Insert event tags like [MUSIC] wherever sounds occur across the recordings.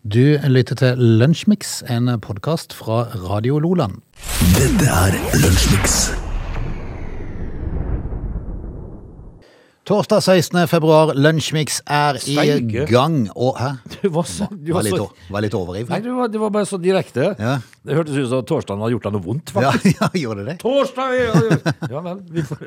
Du lytter til Lunsjmix, en podkast fra Radio Loland. Dette er Lunsjmix. Torsdag 16. februar, Lunsjmix er i Steike. gang. Og hæ? Du var så, du Var var litt, så, o- var litt nei, overivrig? du var, du var bare så direkte. Ja. Det hørtes ut som torsdagen hadde gjort deg noe vondt. Ja, [LAUGHS] faktisk. ja, gjorde det? Torsdag! Ja, ja. ja vel. Vi får,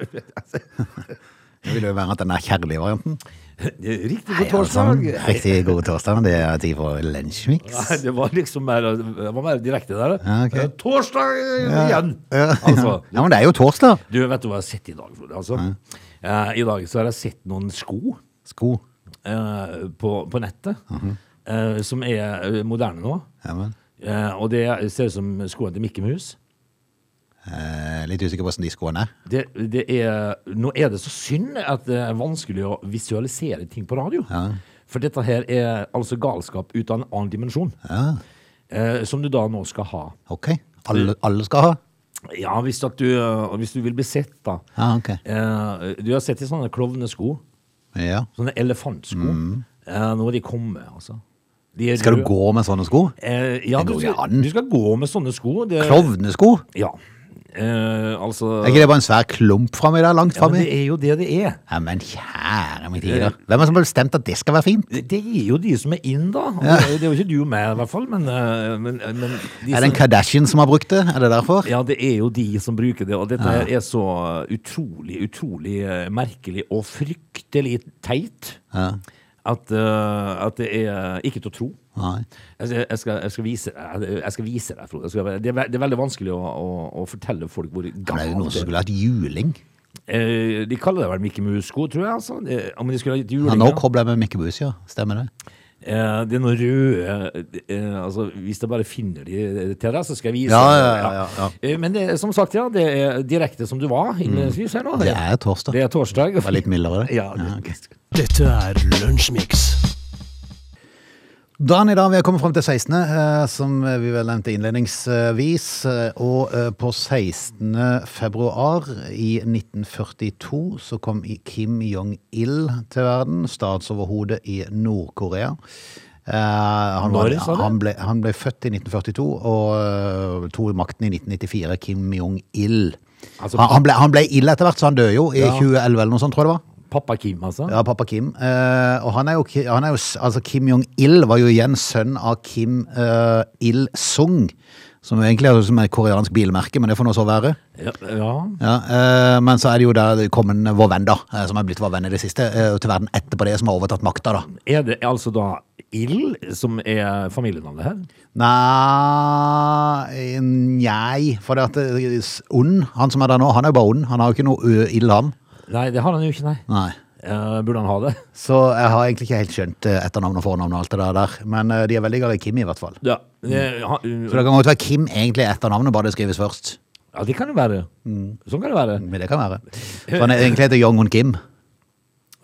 [LAUGHS] Det ville jo være at den er kjærlige varianten. riktig god Alle torsdag. sammen, Riktig god torsdag. Det er tid for Lunsjmix. altså, Nei, det var liksom mer, det var mer direkte der. Ja, ok. Eh, Torsdag igjen! Altså, [LAUGHS] Ja, men det er jo torsdag. du vet du hva jeg har sett i dag, Frode? Altså, Eh, I dag så har jeg sett noen sko Sko. eh, på, på nettet Mhm. eh, som er eh, moderne nå. Ja, men. Eh, og det ser ut som skoene til Mikke Mus. Eh, litt usikker på hvordan de skoene er. Det, det er, nå er det så synd at det er vanskelig å visualisere ting på radio. For dette her er altså galskap ut av en annen dimensjon. Eh, som du da nå skal ha. Ok. Alle, alle skal ha? Ja, hvis, at du, eh, hvis du vil bli sett, da. Ja, ok. Eh, du har sett i sånne klovnesko. Ja. Sånne elefantsko. Eh, nå er de kommet, altså. De er Mm. Skal du røde. gå med sånne sko? Eh, ja, Det du, går jo skal- an. du skal gå med sånne sko. Det, Klovnesko? Ja. Eh, altså Er ikke det bare en svær klump framme der? Langt ja, men framme? Det er jo det det er. Ja, men kjære min tid. Hvem har som har bestemt at det skal være fint? Det det er jo de som er inn, da. Og Det det er jo ikke du og meg, i hvert fall. Men, eh, men, men de Er det en som, Kardashian som har brukt det? Er det derfor? ja, det er jo de som bruker det. Og dette her er så utrolig, utrolig eh, merkelig og fryktelig teit Ja. at, eh, at det er ikke til å tro. Nei. Jeg skal, jeg skal, jeg skal, vise, deg- jeg skal vise deg, Frode. Jeg skal- Det er, ve- det er veldig vanskelig å, å, å fortelle folk hvor Men det er jo noen som galt det er. skulle hatt juling. Eh, De kaller det vel Mikke Mus-sko, tror jeg. Altså. Eh, Om de skulle ha gitt Ja, julinger. nå kobler jeg med Mikke Bus, ja. Stemmer det? Eh, det er noen røde eh, altså, Hvis jeg bare finner de eh, til deg, så skal jeg vise Ja, deg. ja, ja, ja, ja. Eh, Men det, er, som sagt, ja, det er direkte som du var innledningsvis her nå. Mm. Det er torsdag. Det er torsdag. Det var litt mildere, det. [LAUGHS] Ja, det- ok. Dette er Lunsjmix. Dagen i dag, vi har kommet frem til 16., eh, som vi vel nevnte innledningsvis. eh, Og eh, på 16. februar i 1942 så kom i- Kim Jong-il til verden, statsoverhodet i Nord-Korea. Eh, Han, var- Når, sa du? han, ble, han ble født i 1942 og eh, tok makten i 1994, Kim Jong-il. Altså- han, han, ble, han ble ild etter hvert, så han døde jo i Ja. 2011 eller noe sånt, tror jeg det var. Pappa Kim, altså. Ja, pappa Kim. Eh, og han er jo, ki- han er jo s- altså Kim Jong-il var jo igjen sønn av Kim eh, Il-sung, som egentlig er som et koreansk bilmerke, men det får nå så være. Ja. ja. Ja, eh, men så er det jo der det kom en vår venn, da, eh, som er blitt vår venn i det siste, eh, og til verden etterpå det, som har overtatt makta, da. Er det altså da Ild som er familienavnet her? Nei, nei for det at eh, s- ond, han som er der nå, han er jo bare ond. Han har jo ikke noe ø, ild, han. Nei, det har han jo ikke, nei. Nei. Eh, burde han ha det? Så jeg har egentlig ikke helt skjønt eh, etternavn og fornavn og alt det der, der. men eh, de er veldig glad i Kim, i hvert fall. Ja, det, han, Så det kan godt være Kim egentlig er etternavnet, bare det Mm. skrives først. ja, det kan jo være. Sånn kan det være. Men det kan være. For han er egentlig heter Jong-un Kim.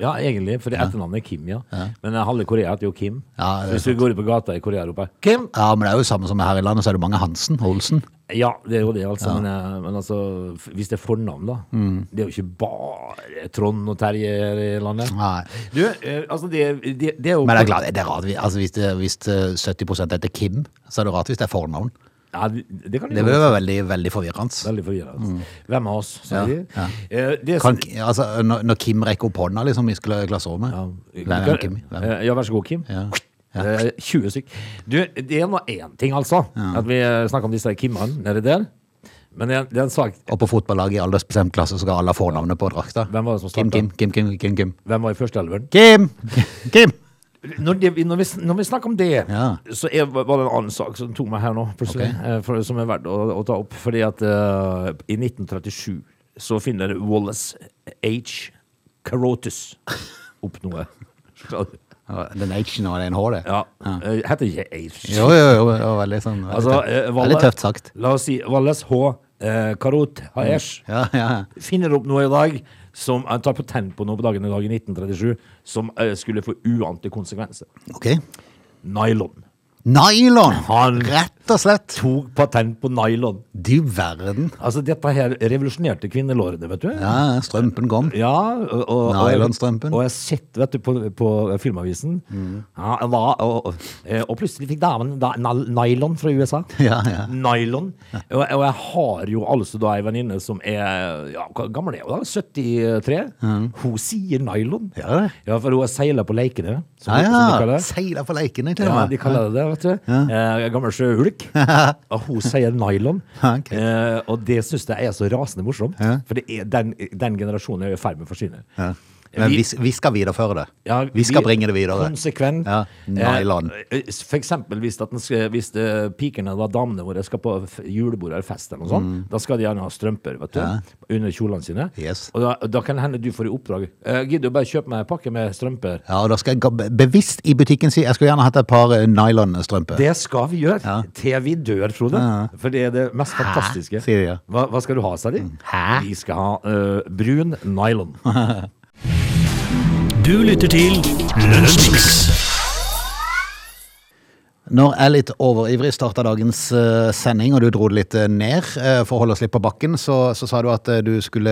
Ja, egentlig, for det etternavnet er Kim, ja. Men eh, halve Korea heter jo Kim. Ja, det er Så hvis du går ut på gata i Korea og roper 'Kim', Ja, men det er jo samme som her i landet, så er det mange Hansen og Olsen. Ja, Mm. det er jo det, altså. Men, eh, men altså, f- hvis det er fornavn, da. Det er jo ikke bare Trond og Terje her i landet. Nei. Du, eh, altså, det, det, det er jo Men det er klart, det er rart vi- altså, hvis, det, hvis det 70 heter Kim, så er det rart hvis det er fornavn. Ja, det kan Det det vil jo jo være veldig, veldig forvirrende. Veldig forvirrende. Hvem av oss, sier de. Ja, Eh, Det Kan, som, altså, når, når Kim rekker opp hånda liksom, i skla- klasserommet ja, Hvem er Kim? Hvem? Eh, ja, vær så god, Kim. Ja. Eh, 20 stykk. Du, det er nå én ting, altså. At vi eh, snakker om disse Kimmene nedi der. Men det er, det er en sak Og på fotballaget i aldersbestemt klasse så skal alle ha fornavnet på drakta. Hvem var det som Kim, starta? Kim, Kim, Kim, Kim, Kim. Hvem var i førsteelveren? Kim! Kim! Når, det, når, vi, sn- når vi snakker om det, Ja. så er, var det en annen sak som tok meg her nå, plutselig, Ok. eh, for, som er verdt å, å ta opp. Fordi at eh, i 1937 så finner Wallace H. Carotus opp noe. [LAUGHS] Ja, Den H-en og den H, det. Ja, eh, heter ikke H. Jo, jo, jo, jo, veldig sånn veldig, Altså, tøft. eh, Wallace- veldig tøft sagt. La oss si Wallace H. Eh, Carot H.S. Ja, ja. finner opp noe i dag som han tar patent på noe på dagen i dag i 1937 som eh, skulle få uante konsekvenser. Ok. Nylon. Nylon! Han- Rett Rett og slett. Tok patent på nylon. Du verden. Altså, dette her revolusjonerte kvinnelårene, vet du. Ja, strømpen kom. Ja, og, og, Nylonstrømpen. Mm. Og jeg sett, vet du, på, på Filmavisen ja, jeg var- og, og, eh, og plutselig fikk damen da, nal- nylon fra USA. Ja, ja. Nylon. Og, og jeg har jo altså da ei venninne som er ja, Hvor gammel er hun? da? 73? Hun sier nylon. Ja, det. Ja, for hun har seila på Leikene, som, Ja, som de ja. kaller det. Seila på leikene, til og Ja, med. de kaller det det, vet du. Eh, [LAUGHS] gammel sjøulk. Og hun sier nylon. Ja, ok. eh, og det syns jeg er så rasende morsomt. Ja. For det er den, den generasjonen er jo i ferd med å forsvinne. Ja. Men vi, vi skal videreføre det. Ja, vi skal bringe det videre. Konsekvent. Ja, nylon. Eh, eh, For eksempel hvis, at den skal, hvis eh, pikene, da, damene våre, skal på f- julebord eller fest eller noe sånt, Mm. da skal de gjerne ha strømper vet du, under kjolene sine. Yes. Og da, da kan det hende du får i oppdrag eh, Gidder du bare kjøpe meg en pakke med strømper? Ja, og da skal jeg gå be- bevisst i butikken si jeg skulle gjerne hatt et par eh, nylonstrømper. Det skal vi gjøre til vi dør, Frode. For det er det mest fantastiske. sier de, ja. hva, hva skal du ha, sa de? Hæ? Vi skal ha eh, brun [LAUGHS] nylon. Du lytter til Lunsjmix. Når jeg litt overivrig starta dagens eh, sending, og du dro det litt eh, ned eh, for å holde oss litt på bakken, så, så sa du at eh, du skulle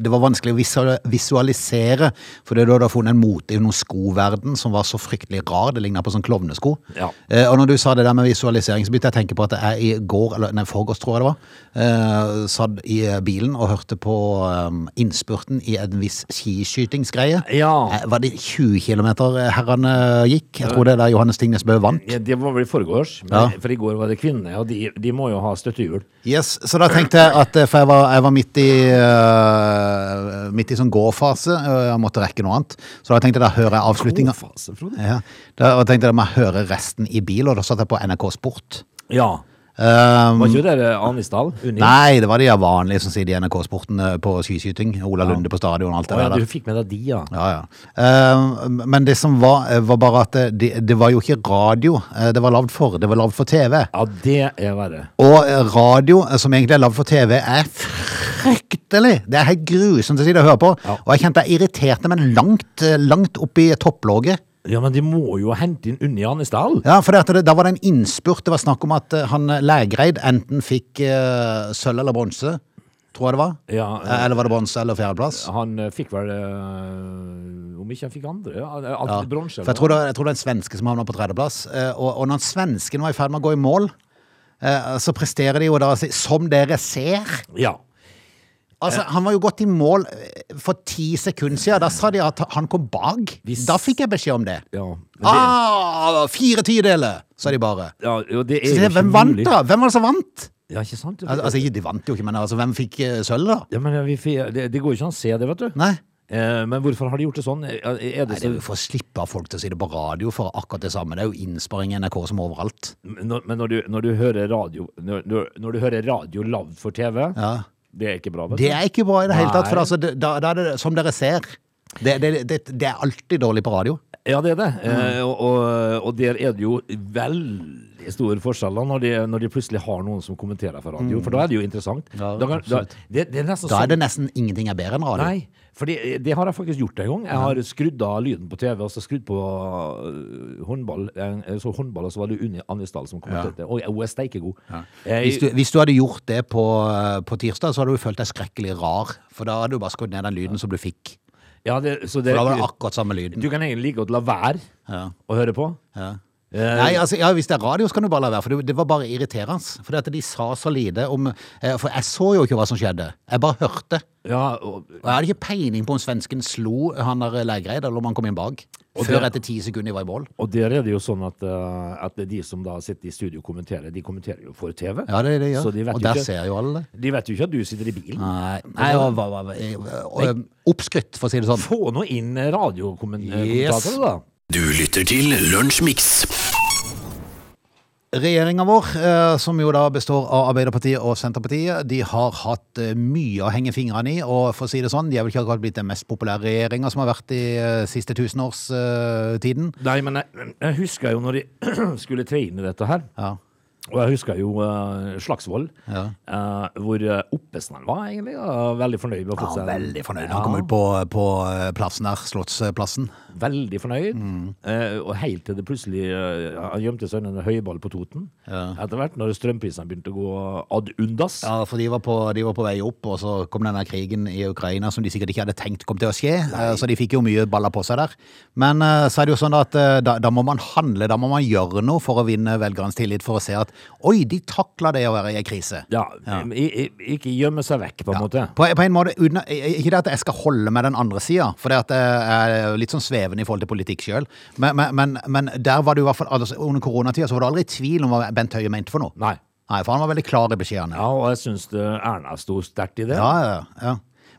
Det var vanskelig å visu- visualisere, fordi du hadde funnet en mote i noen skoverden som var så fryktelig rar. Det ligna på sånn klovnesko. Ja. Eh, og når du sa det der med visualisering, så begynte jeg å tenke på at jeg i går, eller nei, forgårs tror jeg det var, eh, satt i eh, bilen og hørte på eh, innspurten i en viss skiskytingsgreie. Ja. Eh, Var det 20 km herrene gikk? Jeg tror det er der Johannes Tingnes Bø vant. Ja, det var vel i forgårs, men, Ja. for i går var det kvinnene, og de, de må jo ha støttehjul. Yes, så da tenkte jeg at eh, For jeg var, jeg var midt i eh, Midt i sånn gå-fase eh, Jeg måtte rekke noe annet Så da tenkte jeg da hører jeg avslutningen Kofase, Frode. ja, Da da tenkte jeg da må jeg høre resten i bil Og da satt jeg på NRK Sport Ja. um, Var ikke det der eh, Anisdal? Unni? Nei, det var de der vanlige som sier de NRK Sporten eh, På skiskyting, Ola Lunde på stadion og alt Å, det ja, der du fikk med deg de, ja. ja, ja. Eh, men det som var, eh, var bare at eh, det, det var jo ikke radio eh, det var lavt for, det var lavt for TV. Ja, det er verre. Og radio, eh, som egentlig er lagd for TV, er fryktelig. Det er helt grusomt å si det å høre på. Ja. Og jeg kjente jeg irriterte meg langt, eh, langt opp i topplåget. Ja, men de må jo hente inn Unni Anisdal. Ja, for det at det, da var det en innspurt. Det var snakk om at eh, han eh, Lægreid enten fikk eh, sølv eller bronse, tror jeg det var. Ja, Eh, Eller var det bronse eller fjerdeplass? Han eh, fikk vel eh, Om ikke han fikk andre? Ja, eh, alt Ja. bronse. For jeg tror, det, jeg tror det er en svenske som havna på tredjeplass. Eh, Og, og når den svensken var i ferd med å gå i mål, eh, så presterer de jo da å si 'som dere ser'. Ja. Altså, Han var jo gått i mål eh, for ti sekunder siden. Da sa de at han kom bak. Hvis- Da fikk jeg beskjed om det. ja. Men det, Ah, fire tideler, sa de bare. ja, jo, det Så er jo det, ikke hvem vant, mulig. da? Hvem var det som vant? Ja, ikke sant? Al- Altså, De vant jo ikke, men altså, hvem fikk eh, sølv, da? ja, men vi, fi- det, det går jo ikke an å se det, vet du. Nei. Eh, men hvorfor har de gjort det sånn? Er er Nei, det det så, er jo For å slippe av folk til å si det på radio for akkurat det samme. Det er jo innsparing i NRK som overalt. når, men når du, når du hører radio Når, når, når du hører radio lavt for TV, Ja. det er ikke bra, vet du. Det er ikke bra i det hele tatt. For Nei. altså, det- da, da er det som dere ser. Det, det, det, det er alltid dårlig på radio. Ja, det er det. Mm. Eh, og, og, og der er det jo veldig store forskjeller når de, når de plutselig har noen som kommenterer for radio. For da er det jo interessant. Mm. Ja, da kan, da, absolutt. det, det er nesten Da sånn- er det nesten ingenting er bedre enn radio. Nei, for det, det har jeg faktisk gjort en gang. Jeg har skrudd av lyden på TV, og så skrudd på øh, håndball. Jeg så håndball, og så var det Unni Annisdal som kommenterte. Oi, hun er Eh, steikegod. Jeg- Hvis du, hvis du hadde gjort det på, eh, på tirsdag, så hadde du følt deg skrekkelig rar. For da hadde du bare skrudd ned den lyden som du fikk. ja, det, så det, For da var det akkurat samme lyden. du kan egentlig like godt la være Ja. å høre på. Ja. Eh, Nei, altså, ja, Hvis det er radio, så kan du bare la være. For det, det var bare irriterende. For at de sa så lite om eh, For jeg så jo ikke hva som skjedde. Jeg bare hørte. Ja, og, Og jeg hadde ikke peiling på om svensken slo han der Lægreid, eller om han kom inn bak. Og Før det- etter ti sekunder de var i mål. og der er det jo sånn at, øh, at det er de som da sitter i studio og kommenterer, de kommenterer jo for TV. Ja, det, er det de gjør. Så de vet og jo der ikke- ser jo alle det. De vet jo ikke at du sitter i bilen. Nei, Nei og, hva- hva- hva- og, eh, Oppskrytt, for å si det sånn. Få nå inn Yes. radiokommentatorer, da. Du lytter til Lunsjmix. Regjeringa vår, eh, som jo da består av Arbeiderpartiet og Senterpartiet, de har hatt eh, mye å henge fingrene i. Og for å si det sånn, de er vel ikke akkurat blitt den mest populære regjeringa som har vært i eh, siste eh, tusenårstiden. [CLEARS THROAT] Nei, men jeg, jeg husker jo når de skulle tre inn i dette her. Ja. Og jeg husker jo eh, Slagsvold, Ja. eh, hvor eh, oppesen han var, egentlig. og Veldig fornøyd med å få Ja, seg veldig fornøyd. Ja, Han kom ut på, på eh, plassen der, Slottsplassen. Veldig fornøyd. Mm. Eh, og helt til det plutselig eh, Han gjemte seg under en høyball på Toten. Etter hvert, når strømprisene begynte å gå ad undas. Ja, for de var, på, de var på vei opp, og så kom denne krigen i Ukraina som de sikkert ikke hadde tenkt kom til å skje, eh, så de fikk jo mye baller på seg der. Men eh, så er det jo sånn at eh, da, da må man handle, da må man gjøre noe for å vinne velgernes tillit, for å se at oi, de takla det å være i en krise. Ja, i- i- ikke gjemme seg vekk, på en måte. På, på en måte, uten, Ikke det at jeg skal holde med den andre sida, for det at jeg er litt sånn svevende i forhold til politikk sjøl, men, men, men, men der var det jo i hvert fall altså, Under koronatida så var det aldri tvil om hva Bent Høie mente for noe. Nei. Nei, for han var veldig klar i beskjedene. Ja, og jeg syns det- Erna sto sterkt i det. Ja, ja, ja.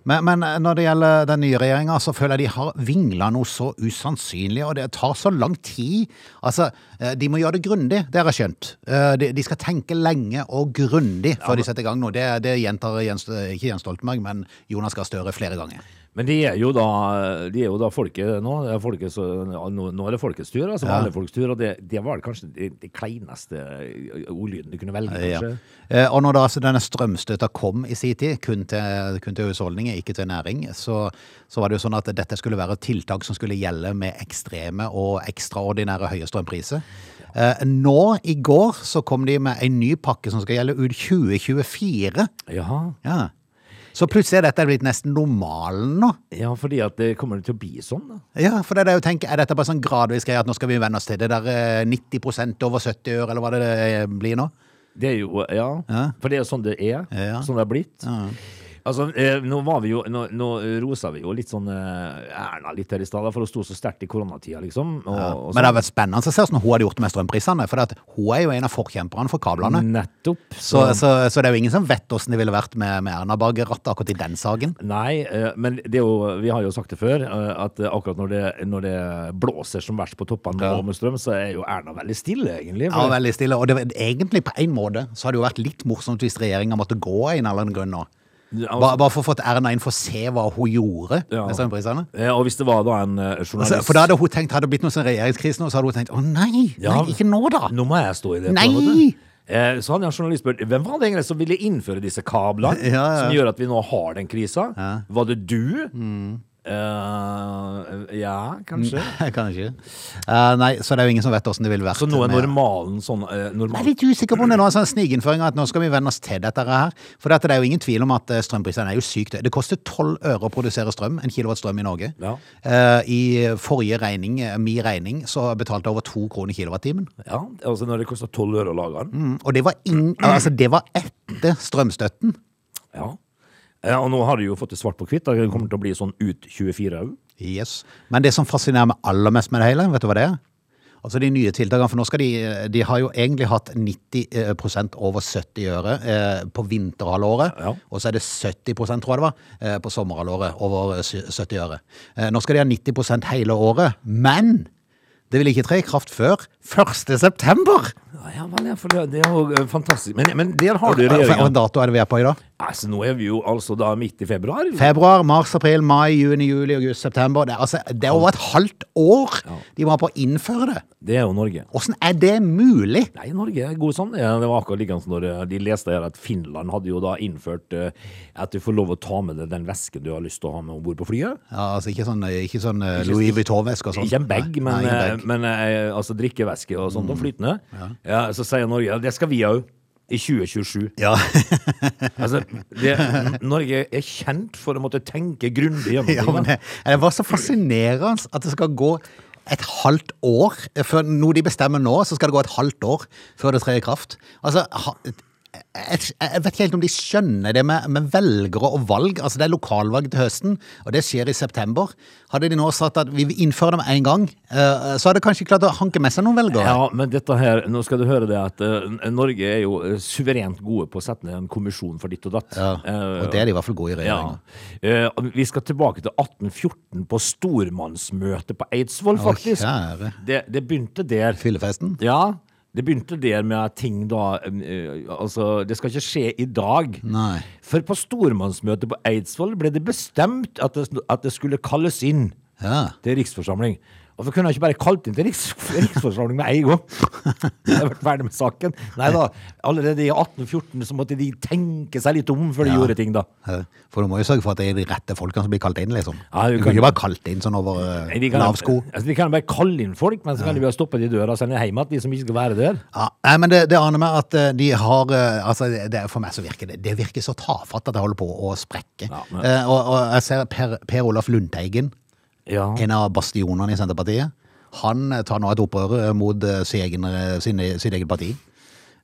Men, men når det gjelder den nye regjeringa, så føler jeg de har vingla noe så usannsynlig, og det tar så lang tid. Altså, eh, de må gjøre det grundig, det har jeg skjønt. Eh, De, de skal tenke lenge og grundig før de setter i gang noe. Det, det gjentar Jens, ikke Jens Stoltenberg, men Jonas Gahr Støre flere ganger. Men de er jo da, de er jo da folket nå. Det er folket, så, ja, nå, nå er det folkets tur, altså vanlige folks tur. Og det, det var kanskje det, det kleineste ordlyden du kunne velge, Ja. kanskje. Eh, Og når da altså denne strømstøtta kom i sin tid, kun til, kun til husholdninger, ikke til næring, så, så var det jo sånn at dette skulle være et tiltak som skulle gjelde med ekstreme og ekstraordinære høye strømpriser. Eh, Nå, i går, så kom de med en ny pakke som skal gjelde ut 2024. Jaha. Ja. Så plutselig er dette blitt nesten normalen nå. Ja, fordi at det kommer til å bli sånn, da. Ja, for det er det jeg jo tenker, er dette bare sånn gradvis greie at nå skal vi venne oss til det der eh, 90 over 70 øre, eller hva det eh, blir nå? Det er jo, ja. Ja. For det er jo sånn det er. Ja. Sånn det har blitt. Altså, eh, nå var vi jo, nå, nå rosa vi jo litt sånn eh, Erna litt her i stad, da, for hun sto så sterkt i koronatida, liksom. Og, og Men det sånn. har vært spennende å se hvordan hun hadde gjort det med strømprisene. For at hun er jo en av forkjemperne for Mm. kablene. Nettopp. Så, så, så det er jo ingen som vet hvordan det ville vært med, med Erna bak rattet akkurat i den saken. Nei, eh, men det er jo, vi har jo sagt det før, eh, at eh, akkurat når det, når det blåser som verst på toppene med Ja. Ormestrøm, så er jo Erna veldig stille, egentlig. Ja, For det- veldig stille. Og det, var- egentlig på en måte så hadde det jo vært litt morsomt hvis regjeringa måtte gå av en eller annen grunn nå. Ja, Bare, bare for å få Erna inn for å se hva hun gjorde Altså- Ja. med strømprisene. Eh, Og hvis det var da en eh, Altså, journalist for da hadde hun tenkt, hadde det blitt noe sånn regjeringskrise nå, så hadde hun tenkt å nei, nei, Ja. ikke nå da. [LAUGHS] Nå må jeg stå i det. på Nei! en måte. Eh, Så hadde en journalist spurt hvem var det egentlig som ville innføre disse kablene Ja, ja, ja. som gjør at vi nå har den krisa. Var det du? Mm. Eh, ja, kanskje. Kanskje. Eh, nei, så det er jo ingen som vet hvordan det ville vært. Så nå er med- normalen sånn eh, Jeg normal. er litt usikker på om det nå er sånn sniginnføring at nå skal vi vende oss til dette her. For dette, det er jo ingen tvil om at eh, strømprisene er jo sykt høye. Det koster 12 øre å produsere strøm, en kilowatt strøm i Norge. Ja. Eh, I forrige regning, eh, mi regning, så betalte jeg over to kroner kilowattimen. Ja, altså når det koster tolv øre å lage den. Mm, Og det var, ing- altså, det var etter strømstøtten. Ja. Eh, Og nå har de jo fått det svart på hvitt. da. Det kommer til å bli sånn ut 24 òg. Yes. Men det som fascinerer meg aller mest med det hele, vet du hva det er? Altså de nye tiltakene, for nå skal de, de har jo egentlig hatt 90 over 70 øre eh, på vinterhalvåret, Ja. og så er det 70 tror jeg det var, eh, på sommerhalvåret over sy- 70 øre. Eh, nå skal de ha 90 hele året, men det vil ikke tre i kraft før 1. september! Ja, ja vel, ja, for det, det er jo eh, fantastisk. Men, men der har du Hva regjeringa. dato er det vi er på i dag? Altså, nå er vi jo altså da midt i februar. Februar, mars, april, mai, juni, juli, august, september. Det er, altså, det er over et halvt år de må ha på å innføre det. Det er jo Norge. Hvordan er det mulig? Nei, Norge er god sånn. Ja, Det var akkurat like som når eh, de leste her at Finland hadde jo da innført eh, at du får lov å ta med deg den vesken du har lyst til å ha med om bord på flyet. Ja, altså Ikke sånn, ikke sånn eh, Louis Vuitton-veske og sånn. Ikke en bag, Nei, men, nei, eh, ikke en bag. men eh, altså drikkevæske og sånt, og flytende. Ja. så sier Norge ja, det skal vi òg. I 2027. [LAUGHS] Ja, [LAUGHS] Altså, det, Norge er kjent for å måtte tenke grundig gjennom ja, men ting. da. det, det var så fascinerende at det skal gå et halvt år eh, før noe de bestemmer nå, så skal det gå et halvt år før det trer i kraft. Altså, ha- jeg, jeg vet ikke helt om de skjønner det med, med velgere og valg. Altså, Det er lokalvalg til høsten, og det skjer i september. Hadde de nå sagt at vi innfører det med en gang, eh, så hadde de kanskje klart å hanke med seg noen velgere. Ja, men dette her, nå skal du høre det at eh, Norge er jo eh, suverent gode på å sette ned en kommisjon for ditt og datt. Eh, Og det er de i hvert fall gode i regjeringa. Ja. Eh, og vi skal tilbake til 1814 på stormannsmøtet på Eidsvoll, faktisk. kjære. det, det begynte der. Fyllefesten. Ja, det begynte der med at ting da eh, Altså, det skal ikke skje i dag. Nei. For på stormannsmøtet på Eidsvoll ble det bestemt at det, at det skulle kalles inn Ja. til riksforsamling. Hvorfor kunne han ikke bare kalt inn til riks [LAUGHS] riksforsamling med en gang? Jeg hadde vært ferdig med saken. Nei da, allerede i 1814 så måtte de tenke seg litt om før de gjorde ting, da. Eh, For du må jo sørge for at det er de rette folkene som blir kalt inn, liksom. Ja, du du kan kan- ikke bare kalt inn sånn over Nei, eh, de kan- lavsko. Altså, de kan bare kalle inn folk, men så kan de bare stoppe de i døra og sende hjem igjen de som ikke skal være der. Ja, nei, men det, det aner meg at eh, de har eh, Altså, det, det er for meg så virker det Det virker så tafatt at det holder på å sprekke. Ja, men- Eh, og, og jeg ser Per, per Olaf Lundteigen, Ja. en av bastionene i Senterpartiet, han eh, tar nå et opprør eh, mot eh, sin egen, eh, sin, sitt eget parti.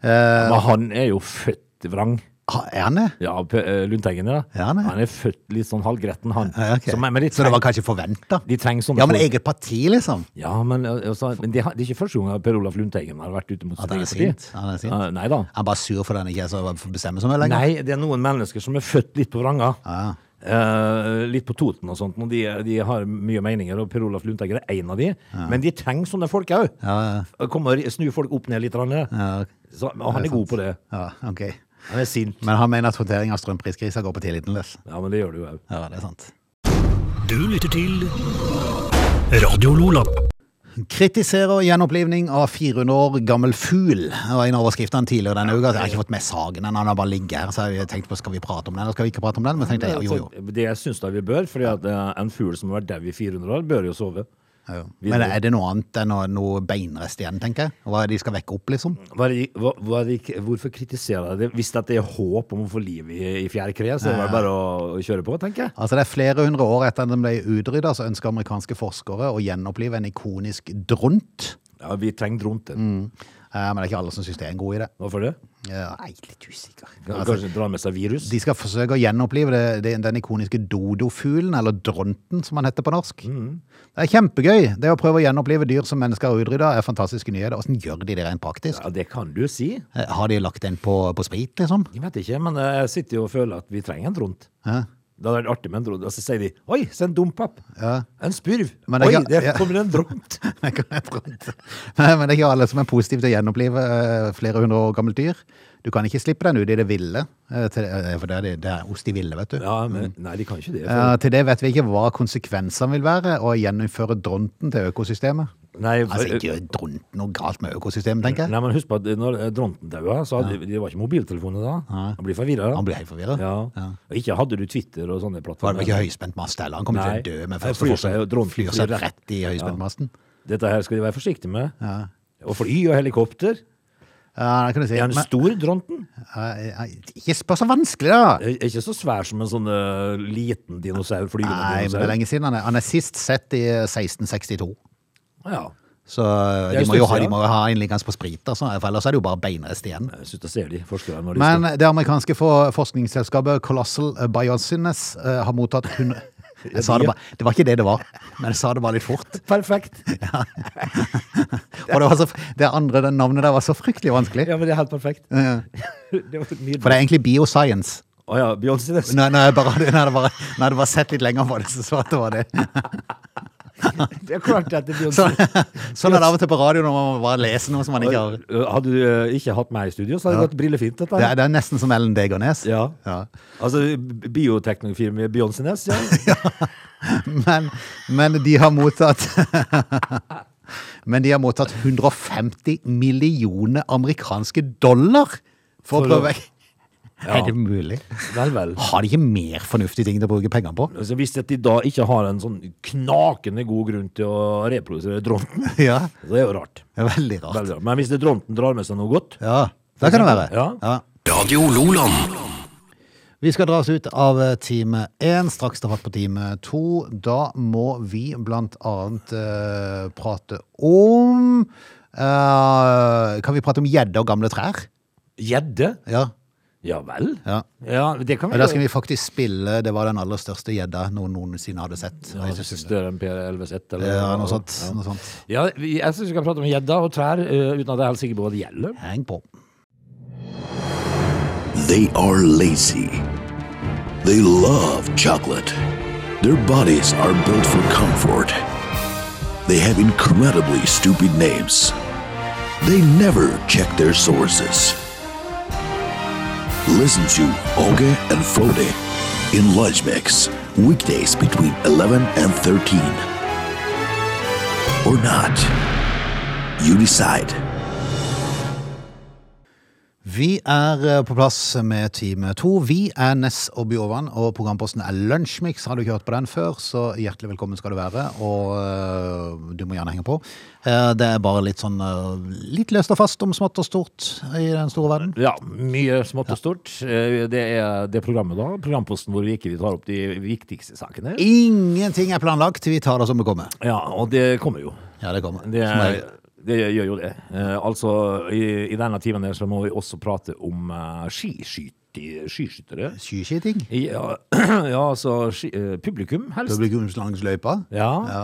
Men han er jo født vrang. Ha, er han det? Ja, P- eh, Lundteigen, ja. Ja, han er. han er født litt sånn halvgretten, han. Ja, ok. Så, men, men de Så det var treng- kanskje forventa? de trenger sånne Ja, men folk. eget parti, liksom. Ja, men, eh, altså, men det, har- det er ikke første gang Per Olaf Lundteigen har vært ute mot sitt han er eget parti. sint. Han er sint. Eh, Nei da. Han er bare sur fordi han ikke er så bestemmer så mye lenger. Nei, det er noen mennesker som er født litt på vranga. Ja. Eh, litt på Toten og sånt. Og de, de har mye meninger, og Per Olaf Lundteigen er en av de. Men de trenger sånne folk òg. Ja, Komme og snu folk opp ned litt. Ja, ja, Så, og han det er er god sant. på det. ja, ok. Han er sint. Men han mener at håndtering av strømpriskrisa går på tilliten løs. Ja, men det gjør du òg. Ja, det er sant. Du lytter til Radio Lola. Kritiserer gjenopplivning av 400 år gammel fugl. Det var en av overskriftene tidligere denne uka. Jeg har ikke fått med saken ennå, den har bare ligget her. Så jeg tenkte på, skal vi prate om den, eller skal vi ikke prate om den? Men tenkte jeg, jo, jo. Altså, Det jeg syns da vi bør, fordi at eh, en fugl som har vært dau i 400 år, bør jo sove. Ja, jo. Men er det noe annet enn noe- noe beinrest igjen, tenker jeg? Hva er det de skal vekke opp, liksom? Hva er det- hva- hva er det- hvorfor kritiserer jeg det? Hvis at det er håp om å få liv i, i fjær kre, så er det vel bare å kjøre på, tenker jeg. Altså Det er flere hundre år etter at den ble utrydda, så ønsker amerikanske forskere å gjenopplive en ikonisk dront. Ja, vi trenger dronter. Eh, Men det er ikke alle som syns det er en god idé. Hvorfor det? Ja, nei, litt usikker. Altså, Kanskje drar med seg virus? de skal forsøke å gjenopplive det, det, den ikoniske dodofuglen, eller dronten som han heter på norsk. Mm. Det er kjempegøy! Det å prøve å gjenopplive dyr som mennesker har utrydda, er fantastiske nyheter. Åssen gjør de det rent praktisk? Ja, det kan du si. Eh, Har de lagt den på, på sprit, liksom? Jeg vet ikke, men eh, jeg sitter jo og føler at vi trenger en dront. Ja. [LAUGHS] Det hadde vært artig med en dront. Og så sier de 'oi, se en dompap'. Ja. En spurv. Men det Oi, er ikke- der ja. kommer [LAUGHS] en dront. Det kan være dront. Nei, Men det er ikke alle som er positive til å gjenopplive eh, flere hundre år gammelt dyr. Du kan ikke slippe den ut i det ville, eh, til, eh, for det er, det- det er ost i ville, vet du. Ja, men nei, de kan ikke det. For, Eh, Til det vet vi ikke hva konsekvensene vil være, å gjennomføre dronten til økosystemet. nei, for, eh, Altså, ikke gjør dronten noe galt med økosystemet, tenker jeg. Nei, men husk på at når dronten daua, så hadde, det var ikke mobiltelefoner da. Han blir forvirra. Han blir helt forvirret. Ja. Og Ikke hadde du Twitter og For sånne det plattformer. var ikke høyspent mast heller. Han kommer til Nei. å dø med Han første flyr seg jo- forsøk. dronten Flyr flyr seg rett. rett i høyspentmasten. Dette her skal de være forsiktige med. Og fly og helikopter. Ja, det kan du si. Er han Men, stor, dronten? eh, eh, ikke spør så vanskelig, da! Er er ikke så svær som en sånn eh, liten dinosaur. Flygende Nei, men det er dinosaur. lenge siden. Han er, han er sist sett i eh, 1662. Ja. Så eh, er de en må, jo stund ha, de siden. må jo ha en liggende på sprit, altså, for ellers er det jo bare beinrest igjen. Jeg syns jeg ser de forskerne når de Men det amerikanske for- forskningsselskapet Colossal Biosines eh, har mottatt [LAUGHS] hun... Jeg sa det, bare, det var ikke det det var, men jeg sa det bare litt fort. skal Perfekt! Og det, var så, det andre det navnet der var så fryktelig vanskelig. Eh, Ja, men det er helt perfekt. [LAUGHS] det var For nydelig. det er egentlig bioscience. Å ja, Beyoncé det er Når, når, jeg bare, [LAUGHS] når, jeg bare, når jeg bare sett litt lenger på det, så så at det var [LAUGHS] det. Det er klart at det er Så, Beyoncé. sånn er det av og til på radio når man bare leser noe som man ikke har Og, ø, Eh, Hadde du ø, ikke hatt meg i studio, så hadde det gått brillefint. dette Det her. er, det er nesten som Ellen Degernes. Ja. Ja. Altså b- bioteknologifirmaet Beyoncé Ness, [LAUGHS] ja. Men, men de har mottatt [LAUGHS] Men de har mottatt 150 millioner amerikanske dollar for, For å å- prøve Er det mulig? Vel, vel. Har de ikke mer fornuftige ting til å bruke penger på? Altså, hvis at de da ikke har en sånn knakende god grunn til å reprodusere dronten, Ja, så er det jo rart. det er veldig rart. Veldig rart. Men hvis det dronten drar med seg noe godt Ja, det kan det være. Ja. Radio Loland. Vi skal dra oss ut av eh, time én, straks ta fatt på time to. Da må vi blant annet eh, prate om eh, Kan vi prate om gjedde og gamle trær? Gjedde? Ja. Ja vel? Ja. Ja, det kan Ja, vi da skal gjøre. vi faktisk spille Det var den aller største gjedda noen noensinne hadde sett. Ja, Jeg synes- Større enn Per Elveset, eller Ja, noe sånt. Noe sånt. Ja, vi- jeg syns vi skal prate om gjedda og trær, ø, uten at jeg er helt sikker på hva det gjelder. Heng på. They are lazy. They love chocolate. Their bodies are built for comfort. They have incredibly stupid names. They never check their sources. Listen to Oge and Frode in Lunch Mix, weekdays between 11 and 13. or not. You decide. Vi er eh, på plass med time to. Vi er Ness og Bjovan, og programposten er Lunsjmix. Har du ikke hørt på den før, så hjertelig velkommen skal du være. Og eh, du må gjerne henge på. Eh, Det er bare litt sånn eh, litt løst og fast om smått og stort i den store verden. Ja, mye smått og stort. Eh, Det er det programmet, da. Programposten hvor vi ikke tar opp de viktigste sakene. Ingenting er planlagt, vi tar det som det kommer. Ja, og det kommer jo. Ja, det kommer. Det, Som regel. det gjør jo det. Eh, altså, i, i denne timen her så må vi også prate om eh, skiskyt- skiskyttere. Skiskyting. Ja, [CLEARS THROAT] ja altså ski, eh, publikum, helst. Publikumslangsløypa. Ja. Ja.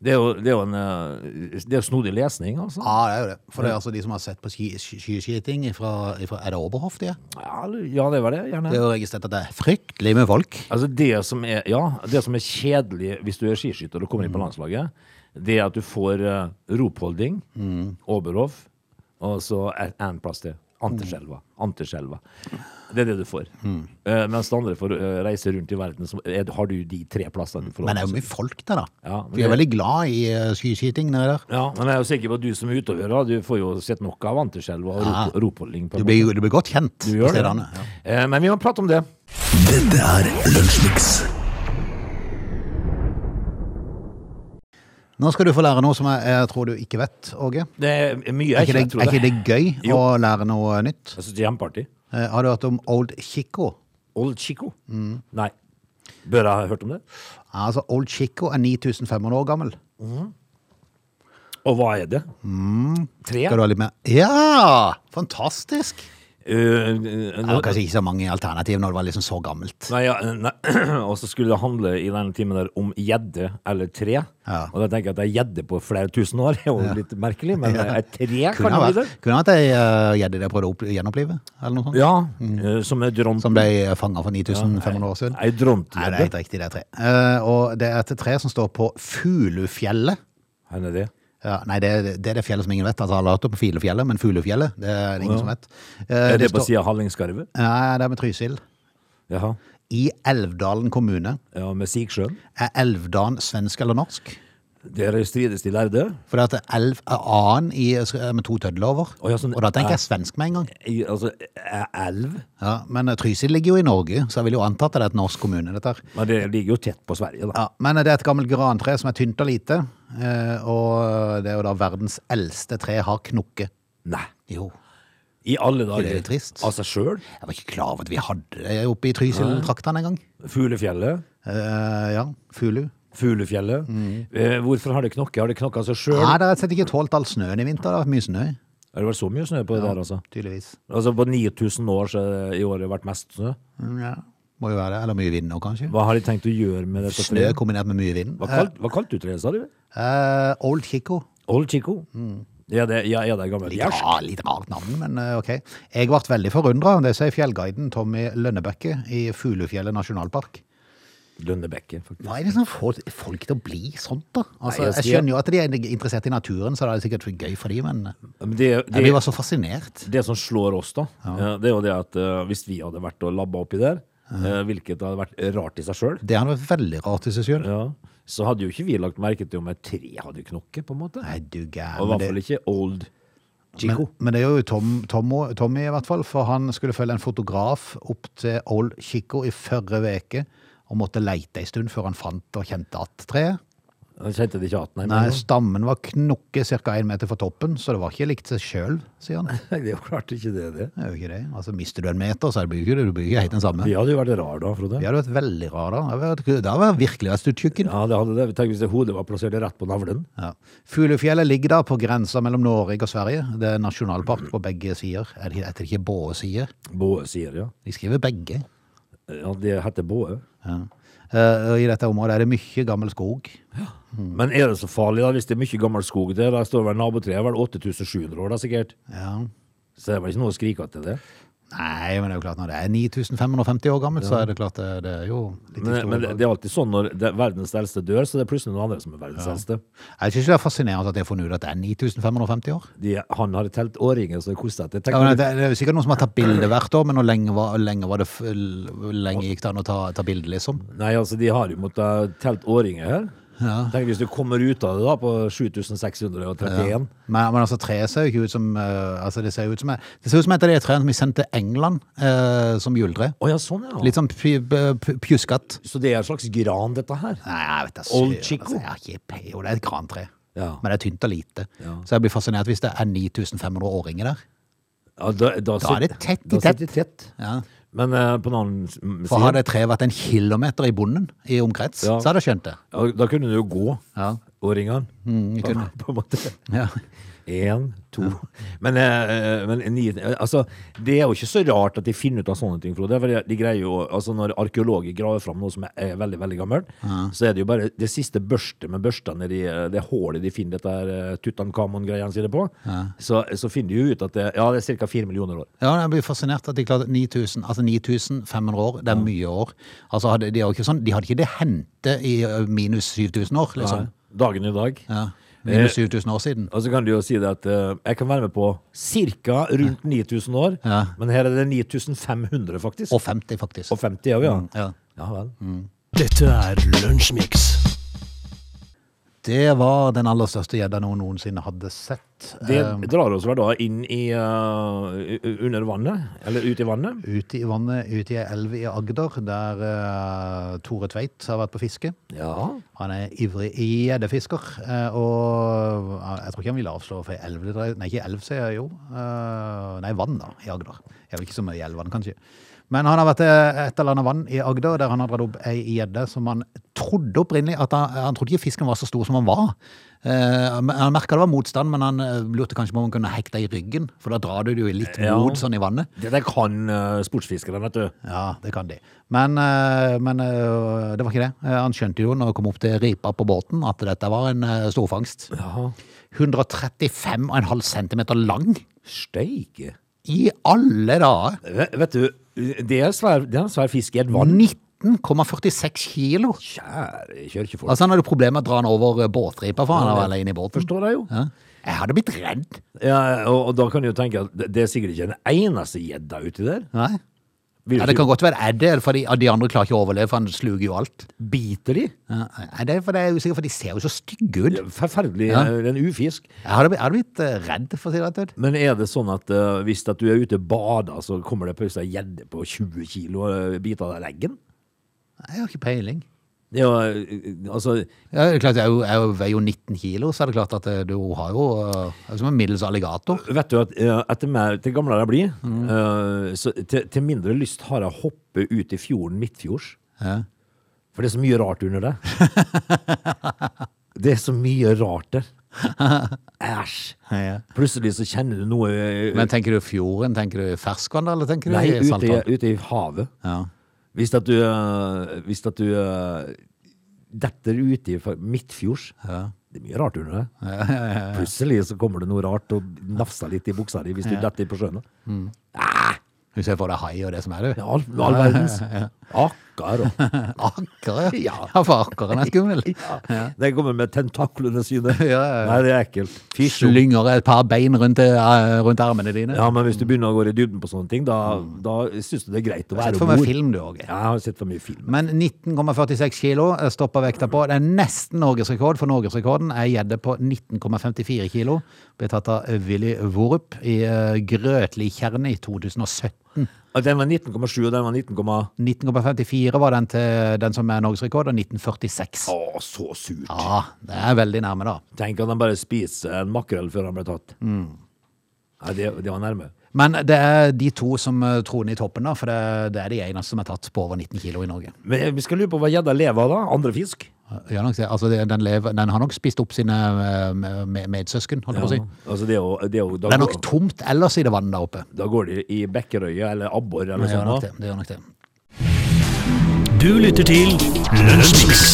Det er jo, det er jo en eh, det er jo snodig lesning, altså. ja, det er jo det. For det er altså de som har sett på ski- ski- skiskyting fra, fra Er det Oberhof, de er? Ja, ja, det var det. Gjerne. Det er jo registrert at det er fryktelig med folk. Altså det som er, ja, det som er kjedelig hvis du er skiskytter og kommer inn på Mm. landslaget, det er at du får uh, ropholding, Mm. Oberhof, og så er en plass til. Mm. Anteskjelva. Anteskjelva. Det er det du får. Eh, mens det andre får eh, reise rundt i verden, så er, har du de tre plassene du får lov Men det er til å jo mye folk der, da. Ja, men For jeg er det- veldig glad i eh, skiskyting nede der. ja, men jeg er jo sikker på at du som er utøver, da, du får jo sett nok av anteskjelva og Ja. rop, ropholding. på Du en blir, du blir godt kjent måte. Du på gjør det. stedene. Ja. Eh, men vi må prate om det. Dette er Lunsjmix. Nå skal du få lære noe som jeg, jeg tror du ikke vet, Åge. Det er mye Er ikke jeg ikke det, tror er ikke det. det gøy Jo. å lære noe nytt? Jeg synes det er kjempeartig. Eh, Har du hørt om Old Chico? Old Chico? Mm. Nei. Bør jeg ha hørt om det? Altså, Old Chico er 9500 år gammel. Og hva er det? Tre? Mm. Skal du ha litt mer? Ja! Fantastisk! Eh, Det var kanskje ikke så mange alternativ når det var liksom så gammelt. nei, ja, eh, nei. [CLEARS THROAT] Og så skulle det handle i denne timen der om gjedde eller tre. Ja. Og da tenker jeg at ei gjedde på flere tusen år er jo litt merkelig, [LAUGHS] men ei tre Kunne ha kan jo bli det. vært, kunne ha vært ei eh, gjedde de prøvde å opp- gjenopplive, eller noe sånt. Ja, eh, som er dront... Mm. Som ble fanga for 9500 år siden. Ei Nei, det drontgjedde. er helt riktig, det er tre. Eh, og det er et tre som står på Fuglefjellet. Her er det. Ja, nei, det, er- det er det fjellet som ingen vet. Altså, alle har hørt om Filefjellet, men Fuglefjellet, det er det ingen som vet. Eh, Er det på står- sida av Hallingskarvet? Nei, det er med Trysil. Jaha. I Elvdalen kommune. Ja, med Sigsjøen? Er Elvdalen svensk eller norsk? Der strides de lærde. For det at elv er annen i, eh, med to tødler over. Å, ja, sånn- og da tenker jeg svensk med en gang. I, altså, e- elv? Ja, men eh, Trysil ligger jo i Norge, så jeg vil jo anta at det er et norsk kommune, dette her. Men det ligger jo tett på Sverige, da. Ja, men det er et gammelt grantre som er tynt og lite, eh, og det er jo da verdens eldste tre har knokke. Nei. Jo. I alle Ikke dager. det er trist? Av seg sjøl? Jeg var ikke klar over at vi hadde det oppe i Trysil-traktene en gang. Fuglefjellet? Eh, ja, Fulu. Fuglefjellet. Mm. Eh, hvorfor har det knokket? Har det knokket seg sjøl? Nei, det har rett og slett ikke tålt all snøen i vinter. Det har vært mye snø, Har det vært så mye snø på det der, altså? tydeligvis. Altså På 9000 år så er det i år har det vært mest snø. Mm, ja. Må jo være det. Eller mye vind nå, kanskje. Hva har de tenkt å gjøre med dette Snø treet? kombinert med mye vind. Hva kalt, hva kalt du treet, sa du? Eh, Old Chico. Old Chico? Ja, det, ja, ja, det er gammelt. Litt, Jers. rar, litt rart navn, men eh, ok. Jeg ble veldig forundra, det sier fjellguiden Tommy Lønnebekke i Fuglefjellet nasjonalpark. Lønnebekke, faktisk. Hva er det som får folk til å bli sånt, da? Altså, Nei, jeg jeg sier- skjønner jo at de er interessert i naturen, så det er sikkert gøy for dem, men eh, Men Det, det, jeg blir bare så fascinert. det som slår oss, da, eh, det er jo det at eh, hvis vi hadde vært og labba oppi der, eh, hvilket hadde vært rart i seg sjøl, Det hadde vært veldig rart i seg sjøl. ja, så hadde jo ikke vi lagt merke til om et tre hadde knokket, på en måte. Nei, du Og i gæren. hvert Men, fall det- ikke Old Chico. men, men det gjør jo Tom, Tommo- Tommy, i hvert fall, for han skulle følge en fotograf opp til Old Chico i førre veke, og måtte leite en stund før han fant og kjente at treet. Jeg kjente det ikke at, nei. men- Nei, stammen var knokket ca. én meter fra toppen, så det var ikke likt seg sjøl, sier han. Nei, det er jo klart ikke det, det. Det er jo ikke det. Altså, Mister du en meter, så blir du ikke, du blir ikke helt den samme. Vi hadde jo vært rar da, Frode. Vi Ja, hadde vært veldig rare da. Det hadde vært- Det hadde vært virkelig vært stuttjukken. det hadde det. Tenk hvis det hodet var plassert rett på navlen. Ja. Fuglefjellet ligger da på grensa mellom Norge og Sverige. Det er nasjonalpark på begge sider. Er det, heter det ikke Båe sider? Båe sier ja. De skriver begge. Ja, det heter Båe. Ja. Eh, og I dette området er det mye gammel skog. Mm. Men er det så farlig da, hvis det er mye gammel skog der? Der står vel nabotreet, vel 8700 år da, sikkert. Ja. Så det er vel ikke noe å skrike til det. Nei, men det er jo klart når det er 9550 år gammelt, så er det klart det, det er jo litt Men, men det, historie. det er alltid sånn når det, verdens eldste dør, så det er plutselig noen andre som er verdens eldste. Jeg synes det er fascinerende at jeg har funnet ut at det er 9550 år. De, han har telt åringer, så det koster etter. Ja, Tenk, men det, det er jo sikkert noen som har tatt bilde hvert år, men hvor lenge, var, hvor lenge, var det, f- hvor lenge gikk det an å ta, ta bilde, liksom? nei, altså, de har jo måttet telt åringer her. Tenk hvis du kommer ut av det da på 7631. Men, men altså, treet ser jo ikke ut som eh, altså, Det ser jo ut som, det ser ut som et av de trærne som vi sendte til England eh, som juletre. Å ja, sånn ja. Litt sånn py- p- pjuskete. Så det er en slags gran, dette her? Nei, jeg vet da Old søren, Chico? Altså, jeg har ikke pe- jo, det er et grantre. Ja. Men det er tynt og lite. Så jeg blir fascinert hvis det er 9500 åringer der. Ja, da, Da er sit- det tett i da sitter tett. det tett. Ja. Men eh, på den annen s- m- For side hadde treet vært en kilometer i bonden i omkrets, Ja. så hadde jeg skjønt det. ja, Da kunne du jo gå Ja. og ringe han. Mm, jeg på, kunne. [LAUGHS] på en måte. Ja. Én, to Men, eh, eh, men ni, eh, altså, det er jo ikke så rart at de finner ut av sånne ting, Frode. For de, de greier jo, altså, når arkeologer graver fram noe som er, er veldig veldig gammelt, så er det jo bare det siste børstet med børsta nedi eh, det hålet de finner dette her eh, Tutankhamon-greia sine på. Så, så finner de jo ut at det, ja, det er ca. fire millioner år. [LAUGHS] ja, jeg blir fascinert at de klarte 9000, altså 9500 år, det er mye år. Altså, hadde, de, har ikke sånn, de hadde ikke det hentet i ø, minus 7000 år, liksom. Dagen i dag. Ja. Minus 7000 år siden. Eh, Og så kan du jo si det at eh, jeg kan være med på ca. rundt 9000 år, Ja. men her er det 9500, faktisk. Og 50, faktisk. Og 50 er vi, ja. Ja. Ja vel. Dette er Lunsjmix. Det var den aller største gjedda noen noensinne hadde sett. Det Eh, drar oss vel da inn i eh, u- under vannet, eller ut i vannet. eh, Ute i vannet, ute i ei elv i Agder, der eh, Tore Tveit har vært på fiske. Ja. Han er ivrig gjeddefisker, eh, og eh, jeg tror ikke han ville avslå for ei elv det dreier Nei, ikke elv, sier jeg jo. Eh, Nei, vann, da, i Agder. Det er vel ikke så mye i elvene, kanskje. Men han har vært til et eller annet vann i Agder der han har dratt opp ei gjedde som han trodde opprinnelig at han, han trodde ikke fisken var så stor som han var. Eh, men Han merka det var motstand, men han eh, lurte kanskje på om han kunne hekte i ryggen, for da drar du det jo i litt Ja. mot sånn i vannet. Det der kan eh, sportsfiskere, vet du. Ja, det kan de. Men, eh, men eh, det var ikke det. Eh, Han skjønte jo når han kom opp til ripa på båten at dette var en eh, storfangst. 135,5 cm lang! Steike. I alle dager! Ve- Vet du, det er, svær, det er en svær fisk i et vann. 19,46 kilo! Mm. Kjære kjørkefolk. Altså Han hadde problemer med å dra den over eh, båtripa, for han var alene inne i båten. Forstår jeg jo. Ja. Jeg hadde blitt redd. Ja, og, og da kan du jo tenke at det, det er sikkert ikke en eneste gjedda uti der. Nei. Vil Ja, du Det ikke kan godt være er det, for de, de andre klarer ikke å overleve, for han sluker jo alt. biter de? Ja, Nei, det er, for det er jeg usikker, for de ser jo så stygge ut. Forferdelig, Ja. eh, en ufisk. Jeg hadde, blitt- jeg hadde blitt eh, redd, for å si det rett ut. Men er det sånn at eh, hvis at du er ute og bader, så kommer det plutselig ei gjedde på 20 kilo og biter deg i leggen? Jeg har ikke peiling. Det er jo, eh, altså, Ja, det er klart, jeg, er jo- jeg er jo- veier jo 19 kilo, så er det klart at eh, du har jo eh, er som en middels alligator. Vet du at eh, etter mer, til gamlere jeg blir, eh, så til, til mindre lyst har jeg å hoppe ut i fjorden midtfjords. For det er så mye rart under det. det er så mye rart der. Æsj. Plutselig så kjenner du noe eh, Men tenker du fjorden, tenker du ferskvann, eller tenker du Nei, i ute i, saltvann? ute i havet. Ja. Hvis at du, eh, hvis at du eh, detter ute i fa- midtfjords Det er mye rart under det. Plutselig så kommer det noe rart og nafser litt i buksa di hvis du detter på sjøen. Du ser for deg hai og det som er, du. Ja, all, all [LAUGHS] verdens. Akkurat. Akker, ja. Ja. Ja, for akkeren er skummel. Ja. Den kommer med tentaklene sine. [LAUGHS] ja, ja. Nei, det er ekkelt. Fysj. Slynger et par bein rundt, eh, rundt armene dine. Ja, men hvis du begynner å gå i dybden på sånne ting, da, da syns du det er greit Mm. å Sett være for om meg bord. film, du òg. Ja, jeg har sett for mye film. Men 19,46 kilo eh, stopper vekta på. Det er nesten norgesrekord, for norgesrekorden er gjedde på 19,54 kilo. Ble tatt av Willy Vorup i eh, Grøtlikjernet i 2017. Og Den var 19,7, og den var 19, 19,54 var den til den som er norgesrekord, og 1946. Å, så surt. Ja, det er veldig nærme, da. Tenk at han bare spiser en makrell før han ble tatt. Mm. Nei, det, det var nærme. Men det er de to som eh, troner i toppen, da, for det, det er de eneste som er tatt på over 19 kilo i Norge. Men vi skal lure på hva gjedda lever av, da? Andre fisk? Ja, nok, det. altså, det- den, lever, den har nok spist opp sine eh, med- medsøsken, holdt jeg på å si. Altså, det er jo, det er jo da, Det er nok går, tomt ellers i det vannet der oppe. da går de i bekkerøya eller abbor eller Det gjør sånn. nok da. det. det, gjør nok det. Du lytter til Lunsjmix.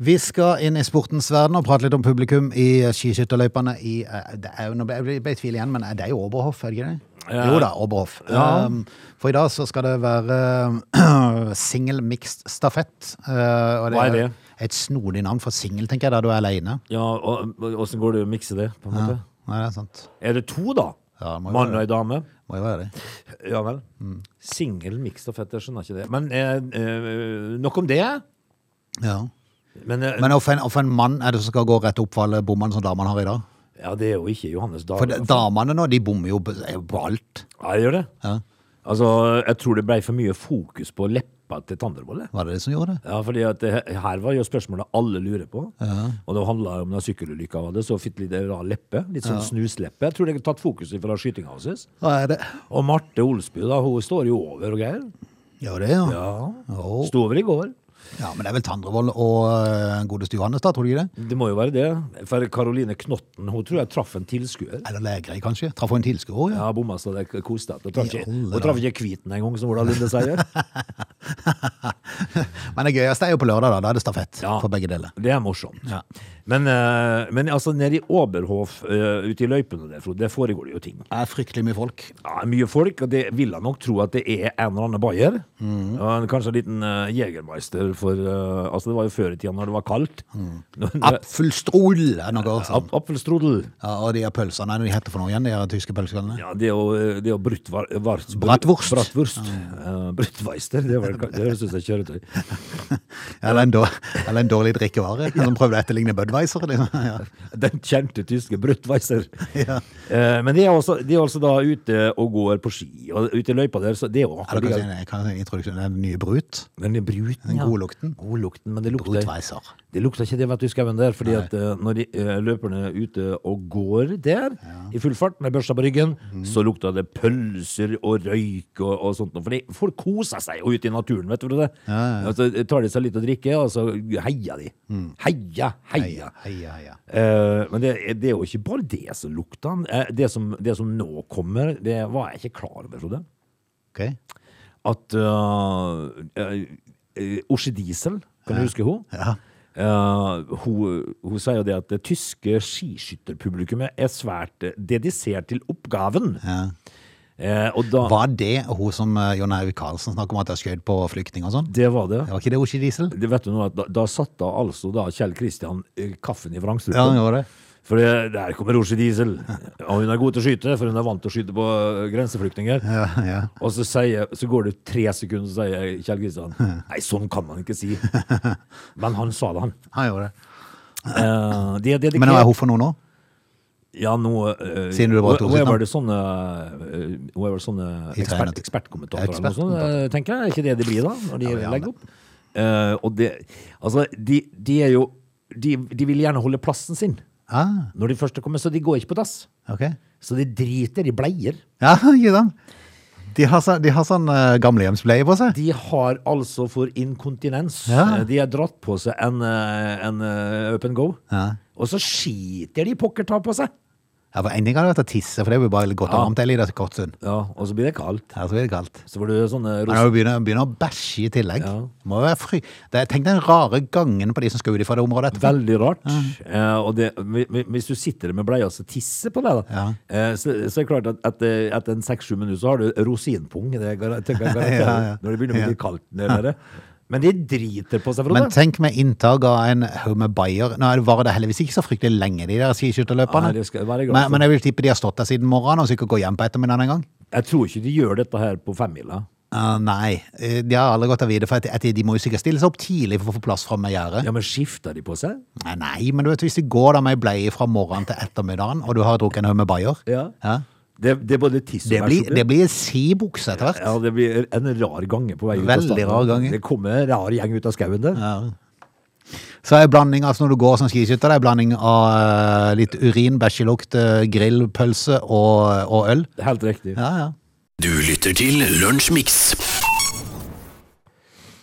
Vi skal inn i sportens verden og prate litt om publikum i skiskytterløypene i eh, det er jo, Nå ble jeg ble i tvil igjen, men eh, det er jo Oberhof, er det ikke det? Ja. Jo da, Oberhof. Ja. Um, for i dag så skal det være eh, [CLEARS THROAT] single mixed stafett. eh, og Hva er det? Et snodig navn for singel, tenker jeg, der du er aleine. Ja, og og- Åssen går det å mikse det? på en måte? Nei, det er sant. Er det to, da? Ja, det må jo Mann og være. ei dame? Mm. Må jo være det. Ja vel. Singel mikstafett, jeg skjønner ikke det. Men eh, eh, nok om det. Ja. Men, eh, Men hvorfor en, hvorfor en mann er det som skal gå rett opp for alle bommene som damene har i dag? ja, det er jo ikke Johannes Dahl. For de- damene nå, de bommer jo på på alt. Ja, jeg gjør det. Ja. Altså, jeg tror det ble for mye fokus på leppa til Tandervolle. Var det de som gjorde det? Ja, fordi at det, her var jo spørsmålet alle lurer på. Og det handla om den sykkelulykka var det, så fikk litt rar leppe. Litt sånn snusleppe. Jeg tror det har tatt fokuset fra skytinga hans. Hva er det? Og Marte Olsby, da, hun står jo over og greier. Ja, det, ja. Ja, Ja. Å. Sto over i går. men det er vel Tandrevold og eh, godeste Johannes, da, tror du ikke det? Det må jo være det. For Karoline Knotten, hun tror jeg traff en tilskuer. Eller Lægrei, kanskje? Traff hun en tilskuer, ja. Ja, bomma så det koste. Hun traff ikke, I alle hun traff ikke Kviten engang, som Ola Lunde [LAUGHS] sier. Men det gøyeste er jo på lørdag, da. Da er det stafett Ja. for begge deler. Det er morsomt. Ja. Men, eh, men altså, nede i Oberhof, eh, ute i løypene der, Frode, der foregår det jo ting. Det er fryktelig mye [LAUGHS] folk. Ja, mye folk, og det vil jeg nok tro at det er en eller annen bayer. Og en- kanskje en liten uh, jegermeister for eh, Altså, det var jo før i tida når det var kaldt. [LAUGHS] Mm. Apfelstrol er noe sånt. Apfelstrudel. altså. Ja, og de her pølsene, hva heter det for noe igjen, de her tyske pølsene? Ja, det er jo, det er jo brutt, var, var, Bratwurst. Bratwurst. Eh, bruttweister, det, var- det høres ut som et kjøretøy. [LAUGHS] Eller, en dår, eller en dårlig drikkevare, som prøvde å etterligne Budweiser. liksom. [LAUGHS] Ja. Den kjente tyske Bruttweiser. Eh, men de er, også, de er altså da ute og går på ski, og ute i løypa der, så det er jo Eller akkurat kanskje en- kanskje en introduksjon, den nye Brut? Men det er bruten, Den gode lukten. Godlukten, men det lukter, Brutweiser. det lukter ikke det vet du, skauen der. fordi at eh, når de, eh, løperne er ute og går der i full fart med børsta på ryggen, Mm. så lukter det pølser og røyk og, og sånt. noe, Fordi folk koser seg jo ute i naturen, vet du det? Og så tar de seg litt å drikke, og så heier de. Mm. Heia, heia. Heia, heia. Eh, men det, er- det er jo ikke bare det som lukter. Eh, det, som, det som nå kommer, det var jeg ikke klar over, Frode Ok. at eh, eh, Osje Diesel, kan du huske hun? Ja. Eh, hun, hun sier jo det at det tyske skiskytterpublikummet er svært eh, dedisert til oppgaven. Ja. Eh, og da Var det hun som eh, Jon Haug Karlsen snakker om at har skjøt på flyktninger og sånn? Det var det. Det var ikke det Oshi Diesel? det vet du nå, at da, da satt da altså da Kjell Kristian eh, kaffen i vrangstrupen. gjorde det. For det, der kommer Osje Diesel. [LAUGHS] Og hun er god til å skyte, for hun er vant til å skyte på eh, grenseflyktninger. Ja, ja. Og så, sier, så går det tre sekunder, så sier Kjell [LAUGHS] Kristian Nei, sånn kan man ikke si. Men han sa det, han. Han gjorde det. Eh, de er dedikert Men hva er hun for noe nå? Ja, nå eh, Siden du bare tok hun er sitt vel sånne, eh, hun er vel sånne I ekspert, tegnet. ekspertkommentatorer eller noe sånt, Ekspertkommentatorer. eh, tenker jeg. Er ikke det de blir da, når de Ja, gjerne. legger opp? Eh, og det, altså, de, de er jo de, de vil gjerne holde plassen sin Ah, når de først kommer, så de går ikke på dass. ok. Så de driter i bleier. Ja, [LAUGHS] ikke sant? De har, så, de har sånn eh, gamlehjemsbleie på seg. De har altså for inkontinens. Ja. Eh, De har dratt på seg en, eh, en eh, open go, Ja. og så skiter de i pokker ta på seg. Ja, for en ting hadde vært å tisse, for det blir bare godt og Ja. varmt eller i det kort stund. Ja, og så blir det kaldt. Her så blir det kaldt. Så får du sånne Men når du begynner, begynner å bæsje i tillegg, Ja. må jo være fry... Det, tenk den rare gangen på de som skal ut fra det området etterpå. Veldig rart. Eh, og det, hvi- hvi- hvis du sitter med bleia som tisser på deg, da, Ja. eh, så, så er det klart at at, eh, etter en seks-sju minutter så har du rosinpung. Det er gar- [LAUGHS] tenker jeg garanterer. Ja, ja. Når det begynner å bli Ja. kaldt nede der. Men de driter på seg, Frode. Men tenk med inntak av en haug med bayer. Nå er det- var det heldigvis ikke så fryktelig lenge, de der Nei, skiskytterløperne. det skal jeg være glad Men, for. men jeg vil tippe de har stått der siden morgenen og sikkert går hjem på ettermiddagen en gang. Jeg tror ikke de gjør dette her på femmila. Eh, nei, eh, de har aldri gått av videre, for at, at de må jo sikkert stille seg opp tidlig for å få plass framme i gjerdet. Ja, men skifter de på seg? Nei, Nei, men du vet, hvis de går da med ei bleie fra morgenen til ettermiddagen, og du har drukket en haug med bayer, Ja. ja, Det, det er både tiss og det, blir, bæsj oppi. det blir si bukse etter hvert. Ja, det blir en rar gange på vei ut av Veldig staden. rar gange. Det kommer en rar gjeng ut av skauen der. Så er blanding, altså når du går som skiskytter, det er blanding av eh, litt urin, bæsjelukt, eh, grillpølse og, og øl. Helt riktig. Ja, ja. Du lytter til Lunsjmix.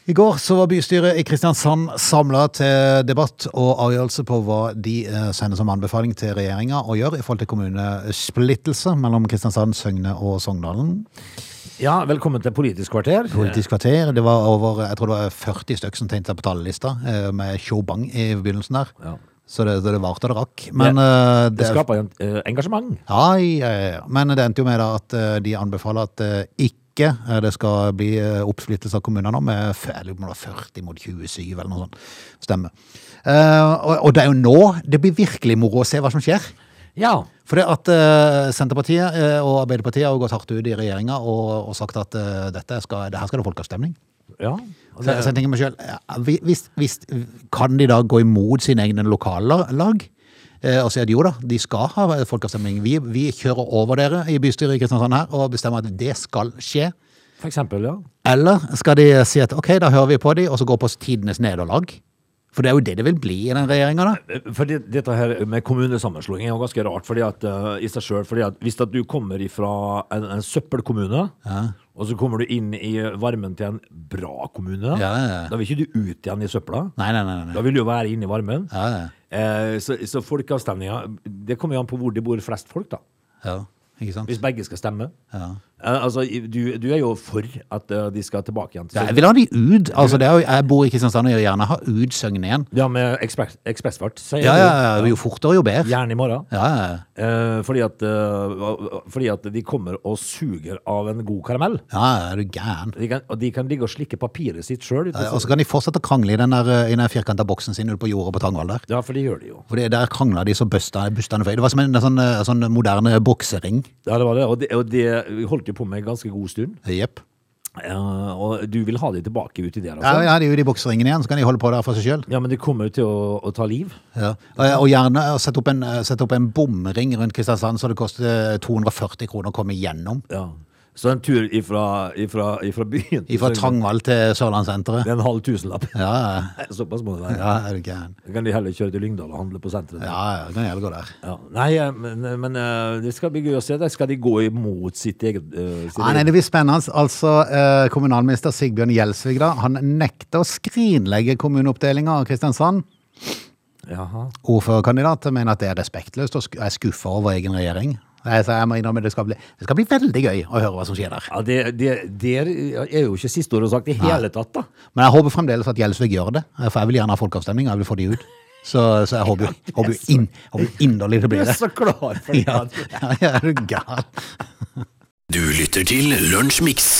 I går så var bystyret i Kristiansand samla til debatt og avgjørelse på hva de eh, sender som anbefaling til regjeringa å gjøre i forhold til kommunesplittelse mellom Kristiansand, Søgne og Sogndalen. Ja, velkommen til Politisk kvarter. Politisk kvarter. Det var over jeg tror det var 40 stykker som tenkte seg på talerlista, eh, med tjobang i begynnelsen der. Ja. Så det, det varte og det rakk. Men, eh, Det det, skaper jo en- eh, engasjement. ja, ja, ja. Men det endte jo med da at eh, de anbefaler at eh, ikke eh, det skal bli eh, oppsplittelse av kommuner nå, med f- eller om det var 40 mot 27 eller noe sånt. Stemmer. Eh, og, og det er jo nå det blir virkelig moro å se hva som skjer. Ja. For det at eh, Senterpartiet eh, og Arbeiderpartiet har jo gått hardt ut i regjeringa og, og sagt at eh, dette skal, det her skal det folkeavstemning. Ja. Så, så jeg tenker meg selv, ja, vi- hvis, hvis, kan de da gå imot sine egne lokallag? Eh, og si at jo da, de skal ha folkeavstemning. Vi, vi kjører over dere i bystyret i Kristiansand her og bestemmer at det skal skje. For eksempel, ja. Eller skal de si at ok, da hører vi på de, og så går på tidenes nederlag? For det er jo det det vil bli i den regjeringa, da. For det, dette her med kommunesammenslåing er jo ganske rart fordi at, eh, i seg selv, fordi at hvis at du kommer fra en, en søppelkommune, og så kommer du inn i varmen til en bra kommune, Ja, ja, ja. da vil ikke du ut igjen i søpla. Nei, nei, nei. nei. Da vil du jo være inne i varmen. Ja, ja. Eh, så, så folkeavstemninger, det kommer jo an på hvor det bor flest folk da. ja. Ikke sant? Hvis begge skal stemme. Ja. Eh, altså, i- du, du er jo for at eh, de skal tilbake igjen til Ja, Jeg vil ha de ut. Altså, det er jo, jeg bor i Kristiansand og jeg vil gjerne ha ut Søgne igjen. Ja, med ekspre- ekspressfart, sier Ja, ja, du. ja, jo fortere, jo bedre. Gjerne i morgen. Ja, ja, ja. Eh, fordi, at, eh, fordi at de kommer og suger av en god karamell. ja, er du gæren. De kan, og de kan ligge og slikke papiret sitt sjøl. Ja, Eh, Og så kan de fortsette å krangle i den der, eh, i den der firkanta boksen sin ute på jordet på Tangvall der. Ja, for det gjør de jo. For det- der krangla de så busta- bustene føy. Det var som en sånn, eh, sånn moderne boksering. Ja, det var det. Og det, og det holdt jo på med en ganske god stund. Jepp. Eh, og du vil ha de tilbake uti Ja, der, altså? ja, de er ute i bokseringen igjen, så kan de holde på der for seg sjøl. Ja, men det kommer jo til å, å ta liv. Ja. Og og gjerne å sette opp en, eh, sette opp en bomring rundt Kristiansand så det koster eh, 240 kroner å komme igjennom. Ja. Så en tur ifra, ifra, ifra byen til Fra Søgne, Tangvall til Det Sørlandssenteret. er en halv tusenlapp. [LAUGHS] Ja, ja. Såpass må det være. ja, er du gæren. Da kan de heller kjøre til Lyngdal og handle på senteret. der. Ja, ja, det kan gjerne gå der. Ja. Nei, eh, men, men eh, det skal bli gøy å se. Der skal de gå imot sitt eget eh, sitt Ja, Ah, nei, eget- det blir spennende. Altså, eh, kommunalminister Sigbjørn Gjelsvik da, han nekter å skrinlegge kommuneoppdelinga av Kristiansand. Jaha. Ordførerkandidatet mener at det er respektløst og sk- er skuffa over egen regjering. Nei, så jeg må innrømme det skal, bli, det skal bli veldig gøy å høre hva som skjer der. Ja, det, det, det er jo ikke siste ordet sagt i hele tatt, da. Men jeg håper fremdeles at Gjelsvik gjør det, eh, for jeg vil gjerne ha folkeavstemning. og Jeg vil få de ut. Så, så jeg håper jo- håper jo inn, håper jo inderlig det Du blir er det. så klar for det. Ja, ja, er du gal? Du lytter til Lunsjmix.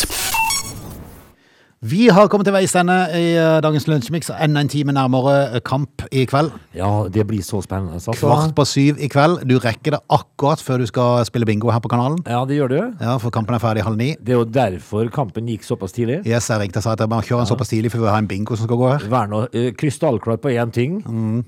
Vi har kommet til veis ende i eh, dagens Lunsjmix. Enda en time nærmere eh, kamp i kveld. Ja, det blir så spennende. altså. Kvart på syv i kveld. Du rekker det akkurat før du skal spille bingo her på kanalen. Ja, det gjør du. Ja, For kampen er ferdig halv ni. Det er jo derfor kampen gikk såpass tidlig. Yes, jeg ringte og sa at jeg må kjøre en såpass tidlig, for vi har en bingo som skal gå her. Vær nå eh, krystallklar på én ting.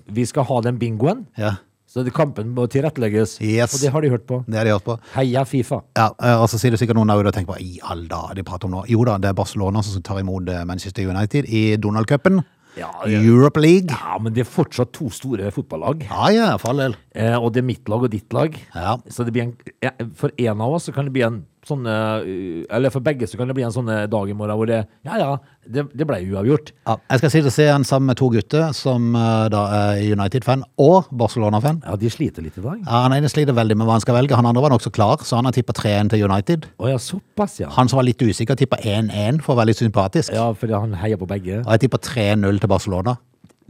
Vi skal ha den bingoen. Ja, Så det- kampen må tilrettelegges. Yes. Og det har de hørt på. Det har de hørt på. Heia Fifa. Ja, eh, og så sier det sikkert noen der ute og tenker på i all da, de prater om nå. Jo da, det er Barcelona som tar imot eh, Manchester United i Donald-cupen. Ja, Ah, ja. Europe League. Ja, men det er fortsatt to store fotballag. Ja ja, for all del. Eh, og det er mitt lag og ditt lag. Ja. Så det blir en, ja, for en av oss så kan det bli en sånn eh, Eller for begge så kan det bli en sånn eh, dag i morgen hvor det Ja ja, det, det ble uavgjort. Ja, jeg skal sitte og se en sammen med to gutter som eh, da er United-fan og Barcelona-fan. Ja, de sliter litt i dag. Ja, han ene sliter veldig med hva han skal velge. Han andre var nokså klar, så han har tippa 3-1 til United. Å ja, såpass, ja. Han som var litt usikker, tippa 1-1 for å være litt sympatisk. Ja, fordi han heier på begge. Og jeg tippa 3-0 til Barcelona.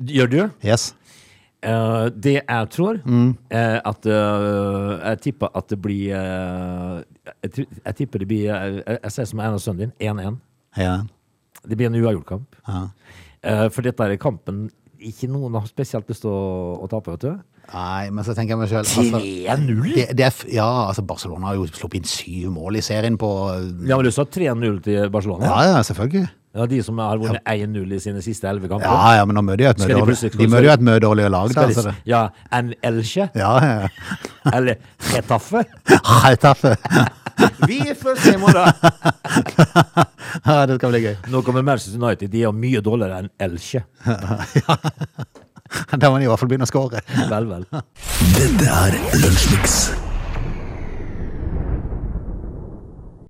Gjør du? Yes. Eh, det jeg tror, eh, at eh, Jeg tipper at det blir eh, jeg, tri- jeg tipper det blir eh, Jeg, jeg ser som Einar Sønnen din. 1-1. Ja. Det blir en uavgjort-kamp. Ja. Eh, for dette er kampen ikke noen har spesielt lyst til å, å tape, vet du. Nei, men så tenker jeg meg sjøl altså, 3-0? det, det er, f- Ja, altså Barcelona har jo sluppet inn syv mål i serien på eh, Ja, men du sa 3-0 til Barcelona? Ja, ja, selvfølgelig. Ja, De som har vunnet 1-0 i sine siste elleve kamper? Ja, ja, men nå møter de jo et Skal de mødårlig plutselig- De møter jo et mødårlig lag, da. Skal de- Altså, det. ja, en Elche? Ja, ja. [LAUGHS] Eller Retaffe? Retaffe. Vi er først i morgen! Ja, det skal bli gøy. Nå kommer Manchester United. De er mye dårligere enn Elche. Da må de i hvert fall begynne å skåre. Vel, vel. Dette er Lunsjmix.